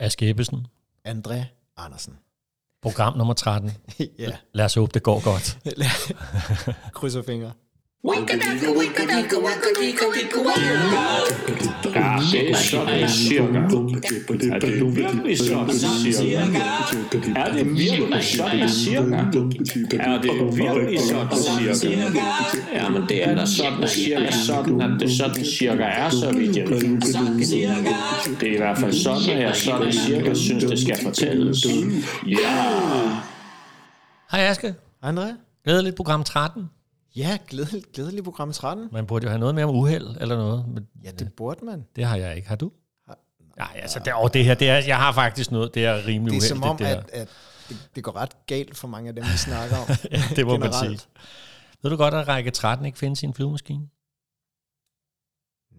Aske Ebbesen, André Andersen. program nummer 13. ja, Lad os håbe, det går godt. krydser fingre. Ja, det er sådan cirka. Er det nu virkelig sådan cirka? Er det virkelig sådan cirka? Er det virkelig sådan cirka? Ja, men det er da sådan cirka sådan, at det sådan cirka er, så vidt jeg ved. Det er i hvert fald sådan, at jeg sådan cirka synes, det skal fortælles. Ja! Hej Aske. André? Glædeligt program 13. Ja, glædelig, glædelig program 13. Man burde jo have noget mere om uheld eller noget, men Ja, det burde man. det har jeg ikke. Har du? Nej, altså det, og det her, det er, jeg har faktisk noget, det er rimelig Det er uheldigt. som om, det der. at, at det, det går ret galt for mange af dem, vi snakker om. det må man generelt. sige. Ved du godt, at række 13 ikke findes i en flyvemaskine?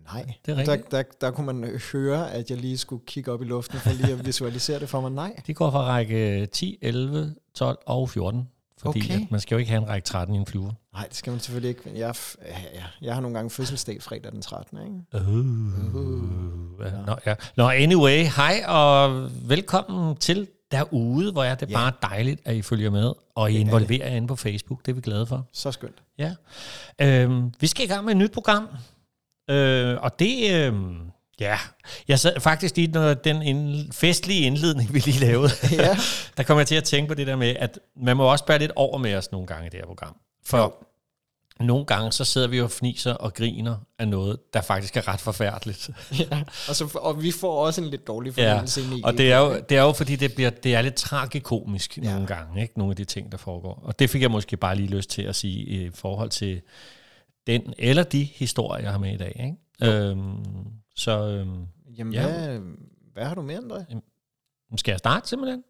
Nej, Det er der, rigtigt. der, der kunne man høre, at jeg lige skulle kigge op i luften for lige at visualisere det for mig. Nej, De går fra række 10, 11, 12 og 14. Fordi Okay. okay. at man skal jo ikke have en række 13 i en flyver. nej, det skal man selvfølgelig ikke. Men jeg, er f- ja, ja, jeg har nogle gange fødselsdag fredag den 13. Ikke? Uh. Ja. Øh. Nå, ja. Nå, anyway, hej og velkommen til derude, hvor er det Ja. bare dejligt, at I følger med, og I involverer jer inde på Facebook, det er vi glade for. Så skønt. Ja. Øhm, vi skal i gang med et nyt program. Øh, og det... Øhm, ja, jeg sad faktisk lige, når den ind, festlige indledning, vi lige lavede, Ja. der kom jeg til at tænke på det der med, at man må også bære lidt over med os nogle gange i det her program. For nogle gange, så sidder vi jo og fniser og griner af noget, der faktisk er ret forfærdeligt. Ja. Og, så, og vi får også en lidt dårlig Ja, fornemmelse ja. ind i. og det er, jo, det er jo fordi, det, bliver, det er lidt tragikomisk ja. Ja. nogle gange, ikke? nogle af de ting, der foregår. Og det fik jeg måske bare lige lyst til at sige i forhold til den eller de historier, jeg har med i dag. Ikke? Øhm, så øhm, Jamen, Ja. ja. hvad, hvad har du mere, André? skal jeg starte simpelthen?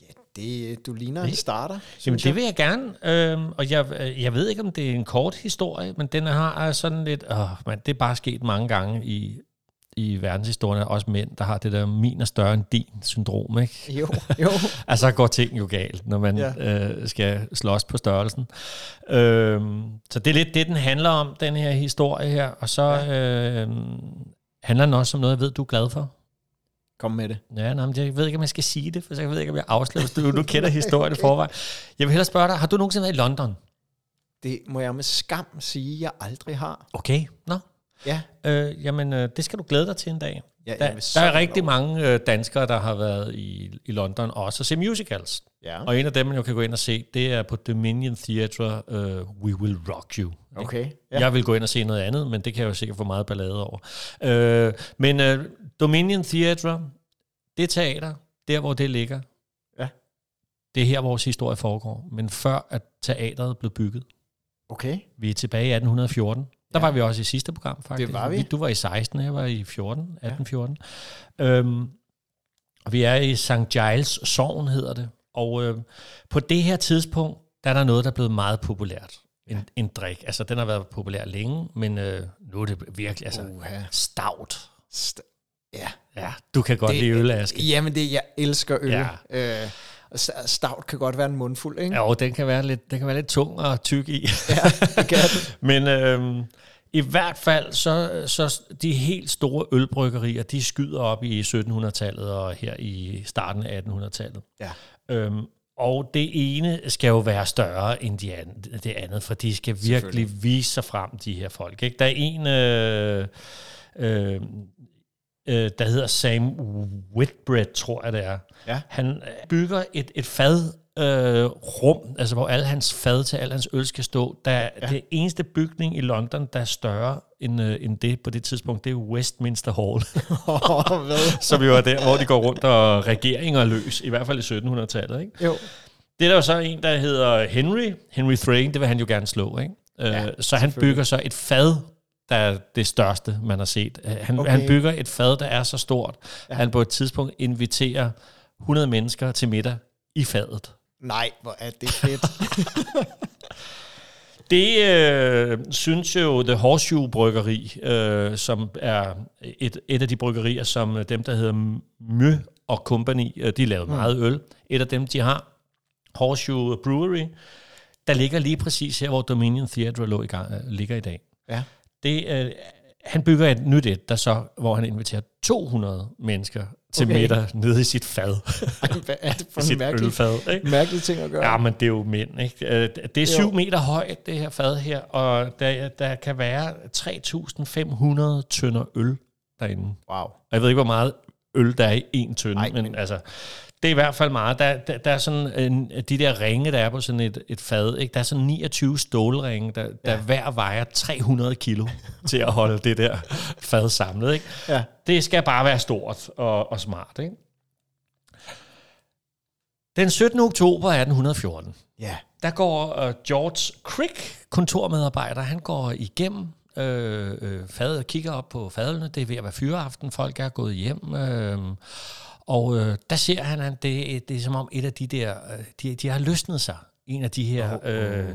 Ja, det, du ligner en Det- starter. Jamen, synes det vil jeg gerne, øhm, og jeg, øh, jeg ved ikke, om det er en kort historie, men den har øh, sådan lidt, åh, man, det er bare sket mange gange i, i verdenshistorien, også mænd, der har det der min er større end din syndrom, ikke? jeg. Jo, jo. Altså, så går ting jo galt, når man ja. Ja. øh, skal slås på størrelsen. Øhm, så det er lidt det, den handler om, den her historie her. Og så ja. øh, handler den også om noget, jeg ved, du er glad for. Kom med det. Ja, nej, men jeg ved ikke, om jeg skal sige det, for så jeg ved ikke, om jeg afslører, hvis du, du kender historien i forvejen. Jeg vil hellere spørge dig, har du nogensinde været i London? Det må jeg med skam sige, jeg aldrig har. Okay. Nå, Ja, øh, jamen, øh, det skal du glæde dig til en dag. Ja, jeg der, vil der så er gerne rigtig over. mange øh, danskere, der har været i, i London også og se musicals. ja. Og en af dem, man jo kan gå ind og se, det er på Dominion Theatre, uh, We Will Rock You. Okay. Ja. Jeg vil gå ind og se noget andet, men det kan jeg jo sikkert få meget ballade over. Uh, men uh, Dominion Theatre, det teater, der hvor det ligger, Ja. det er her, vores historie foregår. Men før at teateret blev bygget, Okay. vi er tilbage i 1814. Der Ja. var vi også i sidste program, faktisk. Det var vi. Du var i 16, jeg var i 14, 1814. Ja. Øhm, og vi er i St. Giles Sogn, hedder det. Og øh, på det her tidspunkt, der er der noget, der er blevet meget populært. En, en drik. Altså, den har været populær længe, men øh, nu er det virkelig, altså, Uha. stout. St- ja. Ja, du kan godt det, lide øl, Aske. Jamen, det, jeg elsker øl. Ja. Ja. Øh, og st- stout kan godt være en mundfuld, ikke? Ja, og den kan være lidt, den kan være lidt tung og tyk i. det kan den. Men øhm, i hvert fald, så, så de helt store ølbryggerier, de skyder op i 1700-tallet og her i starten af 1800-tallet. Ja. Øhm, og det ene skal jo være større end de an- det andet, for de skal virkelig vise sig frem, de her folk. Ikke? Der er en, øh, øh, øh, der hedder Sam Whitbread, tror jeg det er. Ja. Han øh, bygger et, et fad, øh, rum, altså hvor alle hans fad til al hans øl skal stå. Der, ja. Det eneste bygning i London, der er større end, øh, end det på det tidspunkt, det er Westminster Hall Åh, hvad? som jo er der, hvor de går rundt og regeringer er løs, i hvert fald i 1700-tallet. Ikke? Jo. Det er der jo så en, der hedder Henry. Henry Thrain, det vil han jo gerne slå. Ikke? Ja, så han bygger så et fad, der er det største, man har set. Øh, Han, okay. Okay. han bygger et fad, der er så stort, at han på et tidspunkt inviterer 100 mennesker til middag i fadet. Nej, hvor er det fedt. Det øh, synes jo The Horseshoe Bryggeri, øh, som er et, et af de bryggerier, som øh, dem, der hedder Mø og Company, øh, de Mm. lavede meget øl. Et af dem, de har, Horseshoe Brewery, der ligger lige præcis her, hvor Dominion Theatre lå i gang, øh, ligger i dag. Ja. Det øh, Han bygger et nyt et, der så, hvor han inviterer 200 mennesker til Okay. okay. middag nede i sit fad. Hvad er det for I en sit mærkelig, ølfad. Ikke? mærkelig ting at gøre? Ja, men det er jo mænd, ikke? Øh, Det er Jo. syv meter højt, det her fad her, og der, der kan være 3.500 tønder øl derinde. Wow. Og jeg ved ikke, hvor meget øl der er i en tønde, Nej, Ej, men altså, det er i hvert fald meget. Der, der, der er sådan en, de der ringe, der er på sådan et, et fad, ikke? der er sådan 29 stålringe, der, der hver vejer 300 kilo til at holde det der fad samlet. Ikke? Ja. Det skal bare være stort og, og smart. Ikke? Den 17. oktober 1814, Ja. der går uh, George Crick, kontormedarbejder, han går igennem øh, øh, fadet og kigger op på fadene. Det er ved at være fyreaften, folk er gået hjem. Øh, og øh, der ser han, at det, det er som om et af de der, øh, de, de har løsnet sig. En af de her øh,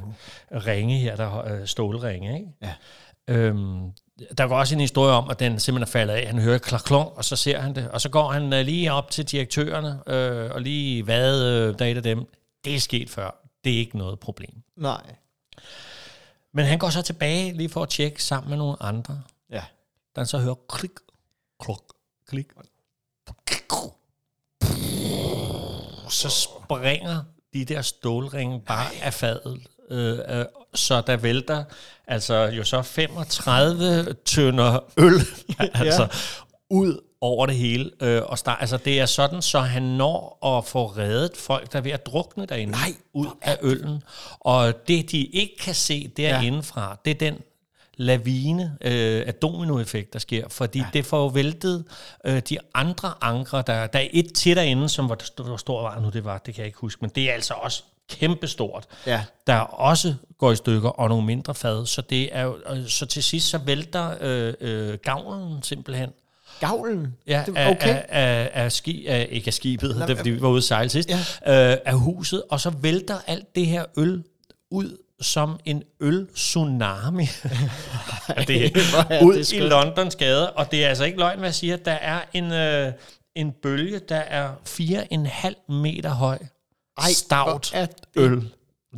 ringe her, der øh, stålringe, ikke? Ja. Øhm, der går også en historie om, at den simpelthen er faldet af. Han hører klaklon, og så ser han det. Og så går han øh, lige op til direktørerne, øh, og lige hvad øh, der er et af dem. Det er sket før. Det er ikke noget problem. Nej. Men han går så tilbage lige for at tjekke sammen med nogle andre. Ja. Da han så hører klik, klok, klik. Så springer de der stålringe bare af fadet. Øh, øh, så der vælter altså jo så 35 tønder øl altså, ud over det hele. Øh, og start, altså, det er sådan, så han når at få reddet folk, der er ved at drukne derinde Nej, ud af øllen. Og det, de ikke kan se derindefra, ja. det er den lavine øh, af dominoeffekt, der sker, fordi ja. det får jo væltet øh, de andre ankre. Der, der er et til derinde, som var, hvor stor var den nu det var, det kan jeg ikke huske, men det er altså også kæmpestort Ja. der også går i stykker, og nogle mindre fad. Så, det er jo, og så til sidst så vælter øh, øh, gavlen simpelthen Gavlen? ja, Det- af, okay. af, af, af, ski, af, ikke af skibet, det, er, fordi vi var ude at sejle sidst, øh, af huset, og så vælter alt det her øl ud som en øl-tsunami. Og det hvor er er det ud i skønt. Londons gader, og det er altså ikke løgn, hvad jeg siger. Der er en, øh, en bølge, der er 4,5 meter høj, Ej, stavt hvor er det- øl,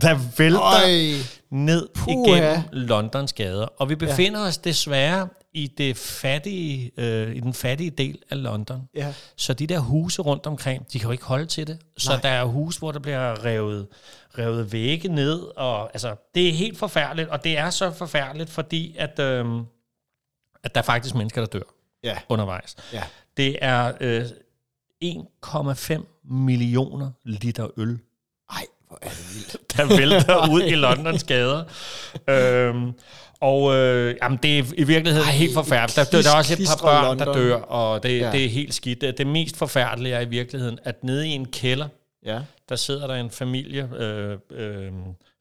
der vælter Øj. ned Puha. Puha. igennem Londons gader. Og vi befinder ja. os desværre i, det fattige, øh, i den fattige del af London. Ja. Så de der huse rundt omkring, de kan jo ikke holde til det. Så Nej. der er huse, hvor der bliver revet, revet vægge ned. Og, altså, det er helt forfærdeligt, og det er så forfærdeligt, fordi at, øh, at der er faktisk mennesker, der dør Ja. undervejs. Ja. Det er øh, 1,5 millioner liter øl, Ej, hvor er det vildt. der vælter ud i Londons gader. Øhm, og øh, jamen, det er i virkeligheden Ej, helt forfærdeligt. Der, dør- der er også et par klistret børn, der London. dør, og det, Ja. ja. det er helt skidt. Det, det mest forfærdelige er i virkeligheden, at nede i en kælder, Ja. der sidder der en familie, øh, øh,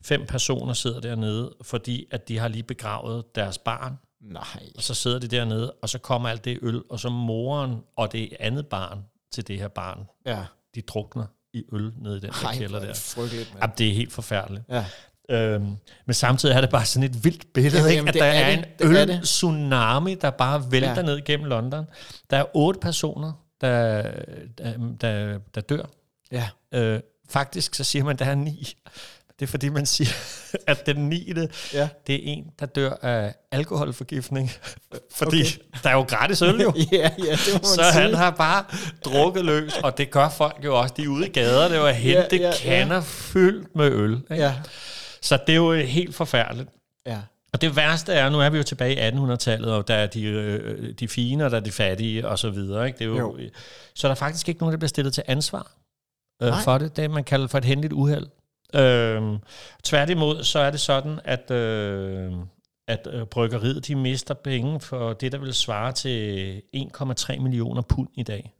fem personer sidder dernede, fordi at de har lige begravet deres barn. Nej. Og så sidder de dernede, og så kommer alt det øl, og så moren og det andet barn til det her barn, Ja. de drukner i øl nede i den der Ej, kælder hvor er det der. frygteligt, mand. Jamen, det er helt forfærdeligt. Ja. Øhm, men samtidig er det bare sådan et vildt billede, Jamen, jamen, jamen, ikke? at det der er, en er det. Det er det. øl-tsunami, der bare vælter Ja. ja. ned gennem London. Der er otte personer, der, der, der, der dør. Ja. Øh, faktisk så siger man, der er ni. Det er fordi, man siger, at den niende, Ja. det er en, der dør af alkoholforgiftning. Fordi okay. der er jo gratis øl jo. Ja, ja, det må man Så sige. han har bare drukket løs, og det gør folk jo også. De er ude i gaderne og hente ja, ja, ja. ja, kander fyldt med øl. Ikke? Ja. Så det er jo øh, helt forfærdeligt. Ja. Og det værste er, nu er vi jo tilbage i 1800-tallet, og der er de, øh, de fine, og der er de fattige, og så videre. Ikke? Det er jo, Jo. jo. Så der er faktisk ikke nogen, der bliver stillet til ansvar øh, Nej. for det. Det er, man kalder for et henligt uheld. Øh, tværtimod, så er det sådan, at, øh, at øh, bryggeriet, de mister penge for det, der vil svare til 1,3 millioner pund i dag.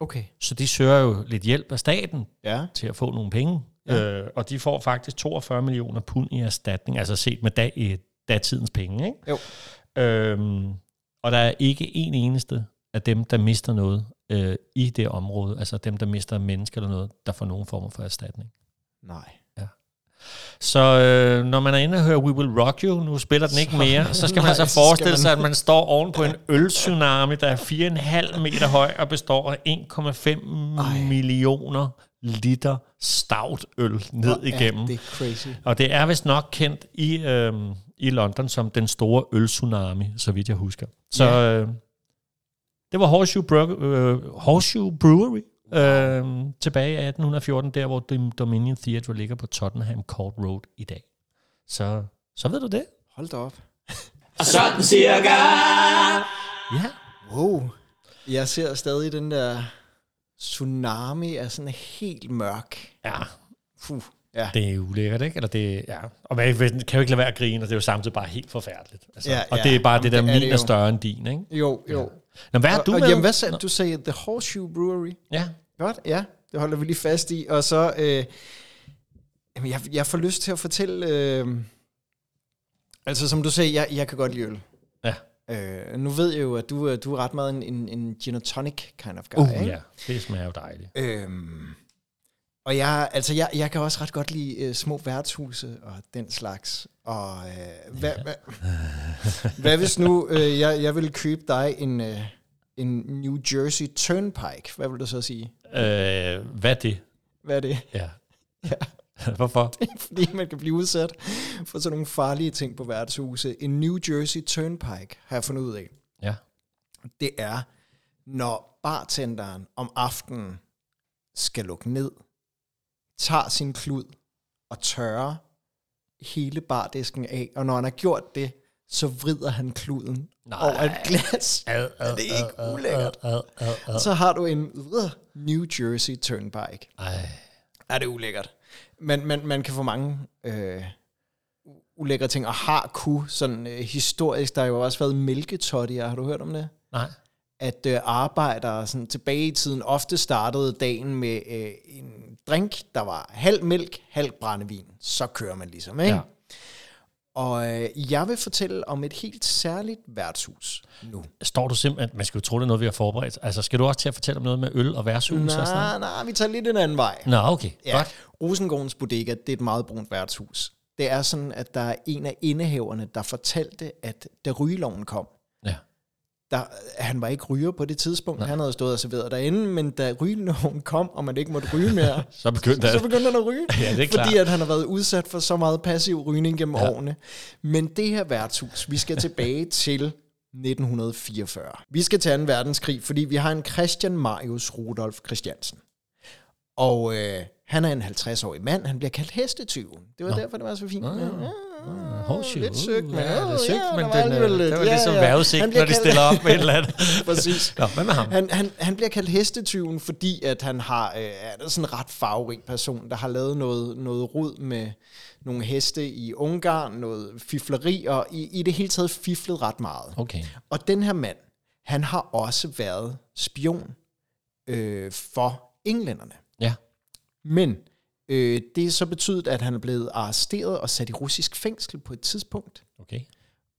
Okay. Så de søger jo lidt hjælp af staten Ja. til at få nogle penge. Ja. Ja. Øh, og de får faktisk 42 millioner pund i erstatning, altså set med dag, i datidens penge. Ikke? Jo. Øhm, og der er ikke en eneste af dem, der mister noget øh, i det område, altså dem, der mister mennesker eller noget, der får nogen form for erstatning. Nej. Så øh, når man er inde og hører We Will Rock You, nu spiller den ikke mere, så skal man Nej, altså så skal forestille man- sig, at man står oven på en øltsunami, der er 4,5 meter høj og består af 1,5 millioner liter stout øl ned Hvor er igennem. Det er crazy. Og det er vist nok kendt i, øhm, i London som den store øltsunami, så vidt jeg husker. Så ja. øh, det var Horseshoe, Brew, øh, Horseshoe Brewery øh, tilbage i 1814, der hvor Dominion Theatre ligger på Tottenham Court Road i dag. Så, så ved du det. Hold da op. Og sådan cirka. Ja. Wow. Jeg ser stadig den der tsunami er sådan helt mørk. Ja, Puh. Ja. det er ulækkert, ikke? Eller det, ja. Og man kan jo ikke lade være at grine, og det er jo samtidig bare helt forfærdeligt. Altså, Ja, Og ja. det er bare Jamen, det der, det er min det er jo. større end din, ikke? Jo, jo. Nå, hvad er Og, du og med? jamen, hvad sagde du? Du sagde The Horseshoe Brewery. Ja. Godt, ja. Det holder vi lige fast i. Og så, øh, jamen, jeg, jeg får lyst til at fortælle, øh, altså som du sagde, jeg, jeg kan godt lide øl. Ja. Øh, nu ved jeg jo, at du, øh, du er ret meget en, en, en gin and tonic kind of guy, Uh, ikke? ja. Det smager jo dejligt. Øhm, og jeg, altså jeg, jeg kan også ret godt lide øh, små værtshuse og den slags. Og øh, hvad, hvad, hvad hvis nu øh, jeg, jeg vil købe dig en, øh, en New Jersey Turnpike? Hvad vil du så sige? Øh, hvad er det? Hvad er det? Ja. ja. Hvorfor? Fordi man kan blive udsat for sådan nogle farlige ting på værtshuse. En New Jersey Turnpike har jeg fundet ud af. Ja. Det er, når bartenderen om aftenen skal lukke ned, tager sin klud og tørrer hele bardisken af, og når han har gjort det, så vrider han kluden Nej. Nej. over et glas. Ad, ad, Er det ikke ad, ad, ulækkert? Ad, ad, ad, ad. Så har du en øh, New Jersey Turnpike. Ej. er det ulækkert. Men man, man kan få mange øh, ulækre ting, og har ku, sådan øh, historisk, der har jo også været mælketottier, har du hørt om det? Nej. At øh, arbejdere sådan, tilbage i tiden ofte startede dagen med øh, en drink, der var halv mælk, halv brændevin. Så kører man ligesom, ikke? Ja. Ja. Og øh, jeg vil fortælle om et helt særligt værtshus nu. Står du simpelthen... Man skal jo tro, det er noget, vi har forberedt. Altså, skal du også til at fortælle om noget med øl og værtshus og sådan noget? Nej, nej, vi tager lidt en anden vej. Nå, okay. Ja, Godt. Rosengårdens Bodega, det er et meget brunt værtshus. Det er sådan, at der er en af indehaverne, der fortalte, at da rygeloven kom, Ja. der, han var ikke ryger på det tidspunkt, Nej. han havde stået og serveret derinde, men da rygeloven kom, og man ikke måtte ryge mere, Så begyndte så det. begyndte han at ryge. Ja, det er klart. fordi at han har været udsat for så meget passiv rygning gennem ja. årene. Men det her værtshus, vi skal tilbage til 1944. Vi skal til 2. verdenskrig, fordi vi har en Christian Marius Rudolf Christiansen. Og øh, han er en 50-årig mand, han bliver kaldt hestetyven. Det var Nå. derfor, det var så fint. Ja, Horseshoe. Lidt søgt, men, Ja, det er åh, søgt, ja, men der den, alligevel øh, lidt. det var Ja, ligesom ja. Han vejrudsigt, bliver når de kaldt- stiller op med et eller andet. Præcis. Nå, hvad med ham? Han, han, han bliver kaldt hestetyven, fordi at han har, øh, er sådan en ret farverig person, der har lavet noget, noget rod med nogle heste i Ungarn, noget fifleri, og i, i det hele taget fiflet ret meget. Okay. Og den her mand, han har også været spion øh, for englænderne. Ja. Men øh, det er så betydet, at han er blevet arresteret og sat i russisk fængsel på et tidspunkt. Okay.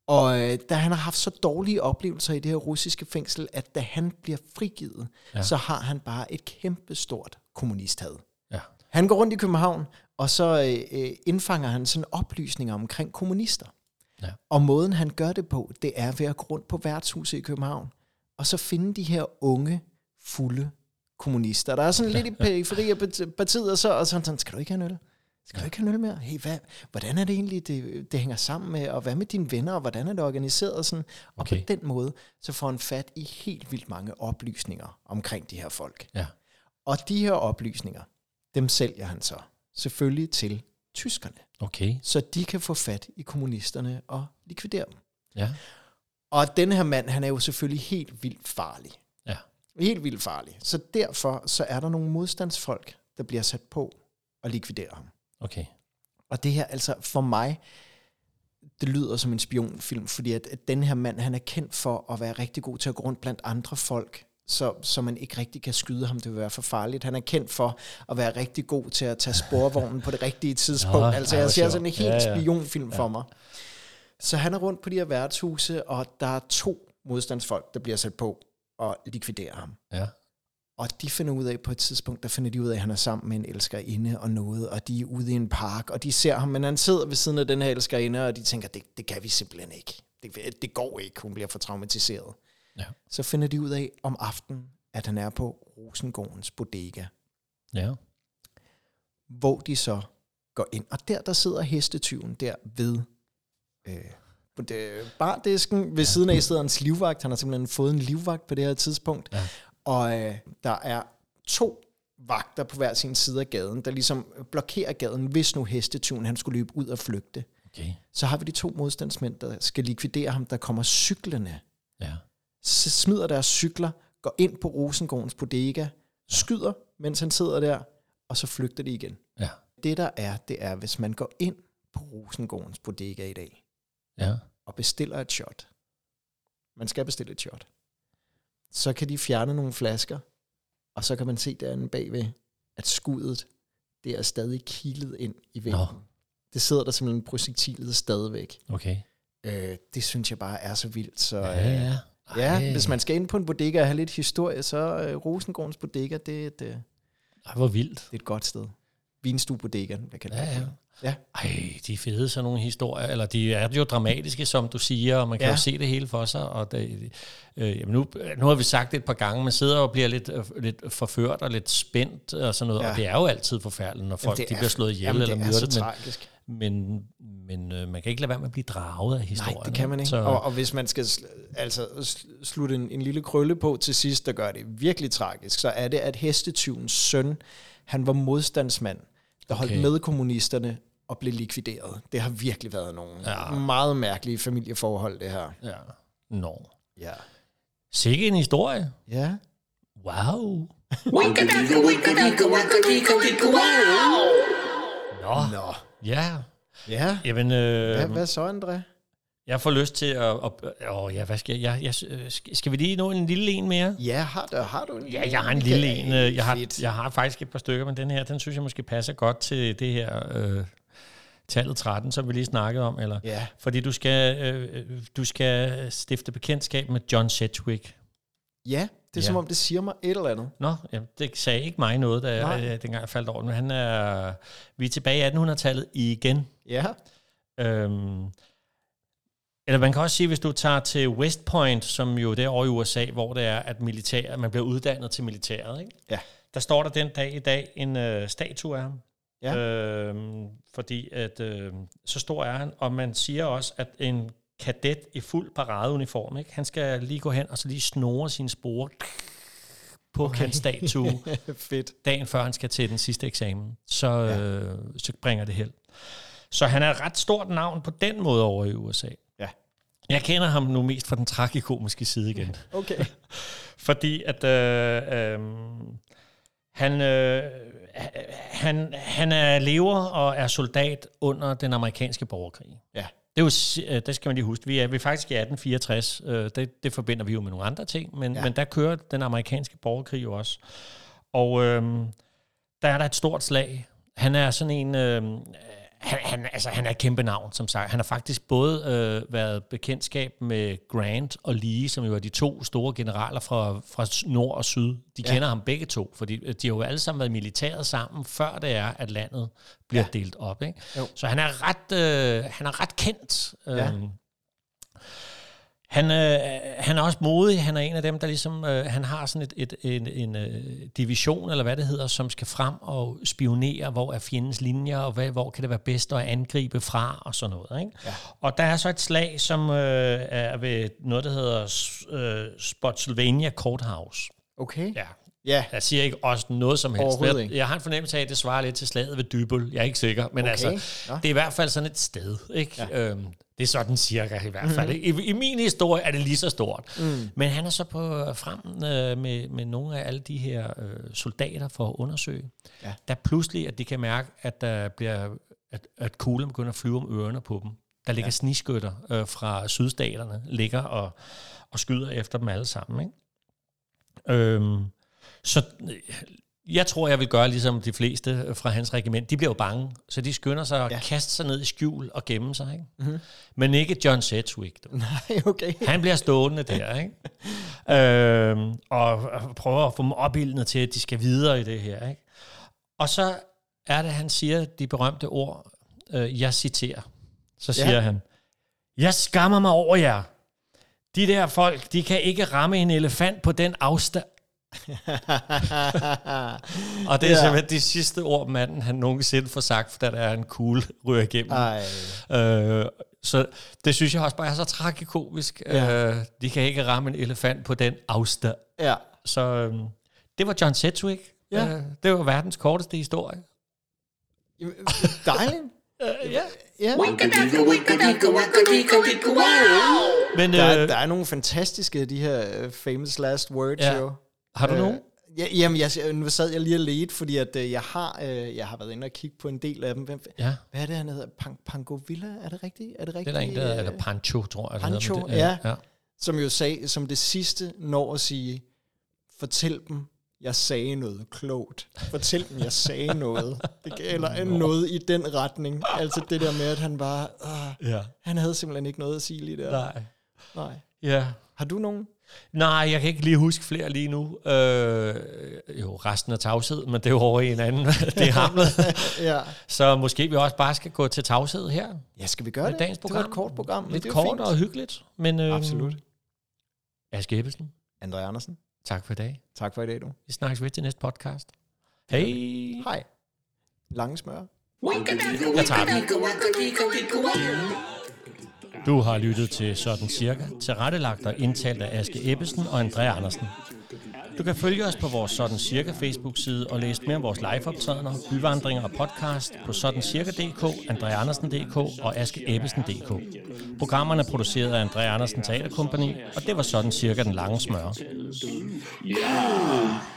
Og øh, da han har haft så dårlige oplevelser i det her russiske fængsel, at da han bliver frigivet, ja. så har han bare et kæmpestort kommunisthad. Ja. Han går rundt i København, og så øh, øh, indfanger han sådan oplysninger omkring kommunister. Ja. Og måden han gør det på, det er ved at gå rundt på værtshuset i København, og så finde de her unge, fulde kommunister. Der er sådan lidt i periferi af parti- partiet, og så og sådan, sådan, skal du ikke have en øl? Skal du ikke have en øl mere? Hey, hvad, hvordan er det egentlig, det, det hænger sammen med, og hvad med dine venner, og hvordan er det organiseret? Og, sådan. og Okay. på den måde, så får han fat i helt vildt mange oplysninger omkring de her folk. Ja. Og de her oplysninger, dem sælger han så selvfølgelig til tyskerne, Okay. så de kan få fat i kommunisterne og likvidere dem. Ja. Og den her mand, han er jo selvfølgelig helt vildt farlig. Ja. Helt vildt farlig. Så derfor så er der nogle modstandsfolk, der bliver sat på og likviderer ham. Okay. Og det her, altså for mig, det lyder som en spionfilm, fordi at, at den her mand, han er kendt for at være rigtig god til at gå rundt blandt andre folk, så, så man ikke rigtig kan skyde ham, det vil være for farligt. Han er kendt for at være rigtig god til at tage sporvognen på det rigtige tidspunkt. Nå, Nå, altså, ej, jeg hvor ser sjovt. sådan en helt Ja, ja, ja. ja. spionfilm ja. for mig. Så han er rundt på de her værtshuse, og der er to modstandsfolk, der bliver sat på og likviderer ham. Ja. Og de finder ud af på et tidspunkt, der finder de ud af, at han er sammen med en elskerinde og noget, og de er ude i en park, og de ser ham, men han sidder ved siden af den her elskerinde, og de tænker, det, det kan vi simpelthen ikke. Det, det går ikke, hun bliver for traumatiseret. Ja. Så finder de ud af om aftenen, at han er på Rosengårdens bodega, Ja. hvor de så går ind. Og der, der sidder hestetyven der ved øh, på det- bardisken. Ved siden af sidder en livvagt. Han har simpelthen fået en livvagt på det her tidspunkt. Ja. Og øh, der er to vagter på hver sin side af gaden, der ligesom blokerer gaden, hvis nu hestetyven han skulle løbe ud og flygte. Okay, Så har vi de to modstandsmænd, der skal likvidere ham, der kommer cyklerne ja. s- smider deres cykler, går ind på Rosengårdens bodega, skyder, mens han sidder der, og så flygter de igen. Ja, Det der er, det er, hvis man går ind på Rosengårdens bodega i dag, ja. og bestiller et shot, man skal bestille et shot, så kan de fjerne nogle flasker, og så kan man se derinde bagved, at skuddet, det er stadig kilet ind i væggen. Nå. Det sidder der simpelthen projektilet stadigvæk. Okay. Øh, det synes jeg bare er så vildt, så... Ja, øh, ja. Ja, Ej, hvis man skal ind på en bodega og have lidt historie, så øh, Rosengårdens Bodega, det er, et, øh, det Ej, hvor vildt. er et godt sted. Vinstuebodegaen, jeg kan Ja, ja. Ja. Ej, de er fede, sådan nogle historier. Eller de er jo dramatiske, som du siger, og man kan ja. Ja. jo se det hele for sig. Og det, øh, jamen nu, nu har vi sagt det et par gange, man sidder og bliver lidt, øh, lidt forført og lidt spændt og sådan noget. Ja. Ja. Og det er jo altid forfærdeligt, når folk det jamen, de er- bliver slået ihjel Jamen, eller det er så myrdet. tragisk. Men, men, men øh, man kan ikke lade være med at blive draget af Nej, historien. det kan man ikke. Så, Og, og hvis man skal sl- altså, sl- slutte en, en lille krølle på til sidst, der gør det virkelig tragisk, så er det, at hestetyvens søn, han var modstandsmand, der holdt Okay. med kommunisterne og blev likvideret. Det har virkelig været nogle Ja. ja. meget mærkelige familieforhold, det her. ja. Nå. Ja. Sikke en historie. Ja. Wow. Winkadaka, winkadaka, winkadika, winka, wow! Nå. Nå. Ja. Ja. Jamen, øh, Hvad, hvad så, André? Jeg får lyst til at... at åh, ja, hvad skal jeg, jeg, jeg... øh, skal- Skal vi lige nå en lille en mere? Ja, har du, har du en Ja, jeg har en Det lille er en. øh, Jeg har, fedt. jeg har faktisk et par stykker, men den her, den synes jeg måske passer godt til det her øh, tallet 13, som vi lige snakkede om. Eller, Ja. Fordi du skal, øh, du skal stifte bekendtskab med John Sedgwick. Ja, Ja. det er som om, det siger mig et eller andet. Nå, ja, det sagde ikke mig noget, da jeg, Nej. øh, dengang jeg faldt over den, men han er... Vi er tilbage i 1800-tallet igen. Ja. Øhm, eller man kan også sige, hvis du tager til West Point, som jo derovre i USA, hvor det er, at militær, man bliver uddannet til militæret, ikke? Ja. der står der den dag i dag en øh, statue af ham. Ja. Øhm, fordi at, øh, så stor er han, og man siger også, at en kadet i fuld paradeuniform, ikke? han skal lige gå hen og så lige snore sine spore på okay. hans statue Fedt. dagen før han skal til den sidste eksamen, så, ja. øh, så bringer det held. Så han er et ret stort navn på den måde over i USA. Ja. Jeg kender ham nu mest fra den tragikomiske side igen. Okay. Fordi at øh, øh, han, øh, han, han er lever og er soldat under den amerikanske borgerkrig. Ja. Det, er jo, si- øh, det skal man lige huske. Vi er, vi er faktisk i 1864. Øh, Det, det forbinder vi jo med nogle andre ting, men, ja. Ja. men der kører den amerikanske borgerkrig jo også. Og øh, der er der et stort slag. Han er sådan en... Øh, han, han, altså, han er et kæmpe navn, som sagt. Han har faktisk både øh, været bekendtskab med Grant og Lee, som jo er de to store generaler fra, fra s- nord og syd. De kender ham begge to, fordi øh, de har jo alle sammen været i militæret sammen, før det er, at landet bliver ja. delt op. Ikke? Jo. Så han er ret, øh, han er ret kendt. Øh, Ja. han, øh, han er også modig. Han er en af dem, der ligesom... Øh, han har sådan et, et, en, en øh, division, eller hvad det hedder, som skal frem og spionere, hvor er fjendens linjer, og hvad, hvor kan det være bedst at angribe fra, og sådan noget. Ikke? Ja. Og der er så et slag, som øh, er ved noget, der hedder S- øh, Spotsylvania Courthouse. Okay. Ja. Ja. ja. Jeg siger ikke også noget som helst. Overhovedet Jeg, ikke. jeg har en fornemmelse af, at det svarer lidt til slaget ved Dybøl. Jeg er ikke sikker, men okay. altså, Nå. det er i hvert fald sådan et sted. Ikke? Ja. Øhm, det er sådan cirka i hvert fald. Mm-hmm. I, I min historie er det lige så stort. Mm. Men han er så på frem øh, med, med nogle af alle de her øh, soldater for at undersøge. Ja. Ja. Der pludselig, at de kan mærke, at der bliver at, at kuglen begynder at flyve om ørerne på dem. Der ligger ja. sniskytter øh, fra sydstaterne, ligger og, og skyder efter dem alle sammen. Ikke? Øhm, så øh, jeg tror, jeg vil gøre ligesom de fleste fra hans regiment. De bliver jo bange, så de skynder sig at ja. Ja. kaste sig ned i skjul og gemme sig. Ikke? Mm-hmm. Men ikke John Sedgwick. Du. Nej, okay. Han bliver stående der, ikke? øhm, og, og prøver at få dem opildnet til, at de skal videre i det her. Ikke? Og så er det, han siger de berømte ord, øh, jeg citerer. Så Ja. siger ja. han, jeg skammer mig over jer. De der folk, de kan ikke ramme en elefant på den afstand. Og det er ja. Ja. simpelthen de sidste ord, manden han nogensinde får sagt, da der er en kugle ryger igennem. Ej. Øh, Så det synes jeg også bare er så tragikomisk. Ja. Øh, de kan ikke ramme en elefant på den afstand. Ja. Så øh, det var John Sedgwick. Ja. Øh, det var verdens korteste historie. Jamen, Dejligt. Øh, ja. Ja. Men Der, er, øh, der er nogle fantastiske af de her øh, famous last words Ja. ja. jo. har du Øh, nogen? Ja, jamen, jeg, nu sad jeg lige og ledte, fordi at, øh, jeg, har, øh, jeg har været inde og kigge på en del af dem. Hvem, Ja, hvad er det, han hedder? Pang, Pangovilla? Er det rigtigt? Er det det er rigtigt? der en, der hedder, Øh, eller Pancho, tror jeg. det Pancho, hedder, men ja. ja. Som jo sag, som det sidste når at sige, fortæl dem, jeg sagde noget klogt. Fortæl dem, jeg sagde noget. Det, eller noget i den retning. Altså det der med, at han bare... Øh, Ja. han havde simpelthen ikke noget at sige lige der. Nej. Nej. Ja. Har du nogen? Nej, jeg kan ikke lige huske flere lige nu. Øh, jo, resten er tavshed, men det er jo over i en anden. det er hamlet. Ja. Så måske vi også bare skal gå til tavshed her. Ja, skal vi gøre det? Med dagens Det program. var et kort program. men Lidt det er jo kort og hyggeligt. Men, øh, Absolut. Aske Ebbesen, André Andersen, tak for i dag. tak for i dag, du. Vi snakkes ved til næste podcast. Hej! Hej. Lange smør. Jeg tager den. Du har lyttet til Sådan Cirka, tilrettelagt og indtalt af Aske Ebbesen og Andrea Andersen. Du kan følge os på vores Sådan Cirka Facebook-side og læse mere om vores liveoptrædener, byvandringer og podcast på sådancirka.dk, Andrea Andersen.dk og Aske Ebbesen.dk. Programmerne er produceret af Andrea Andersen Teaterkompagni, og det var Sådan Cirka den lange smør. Ja!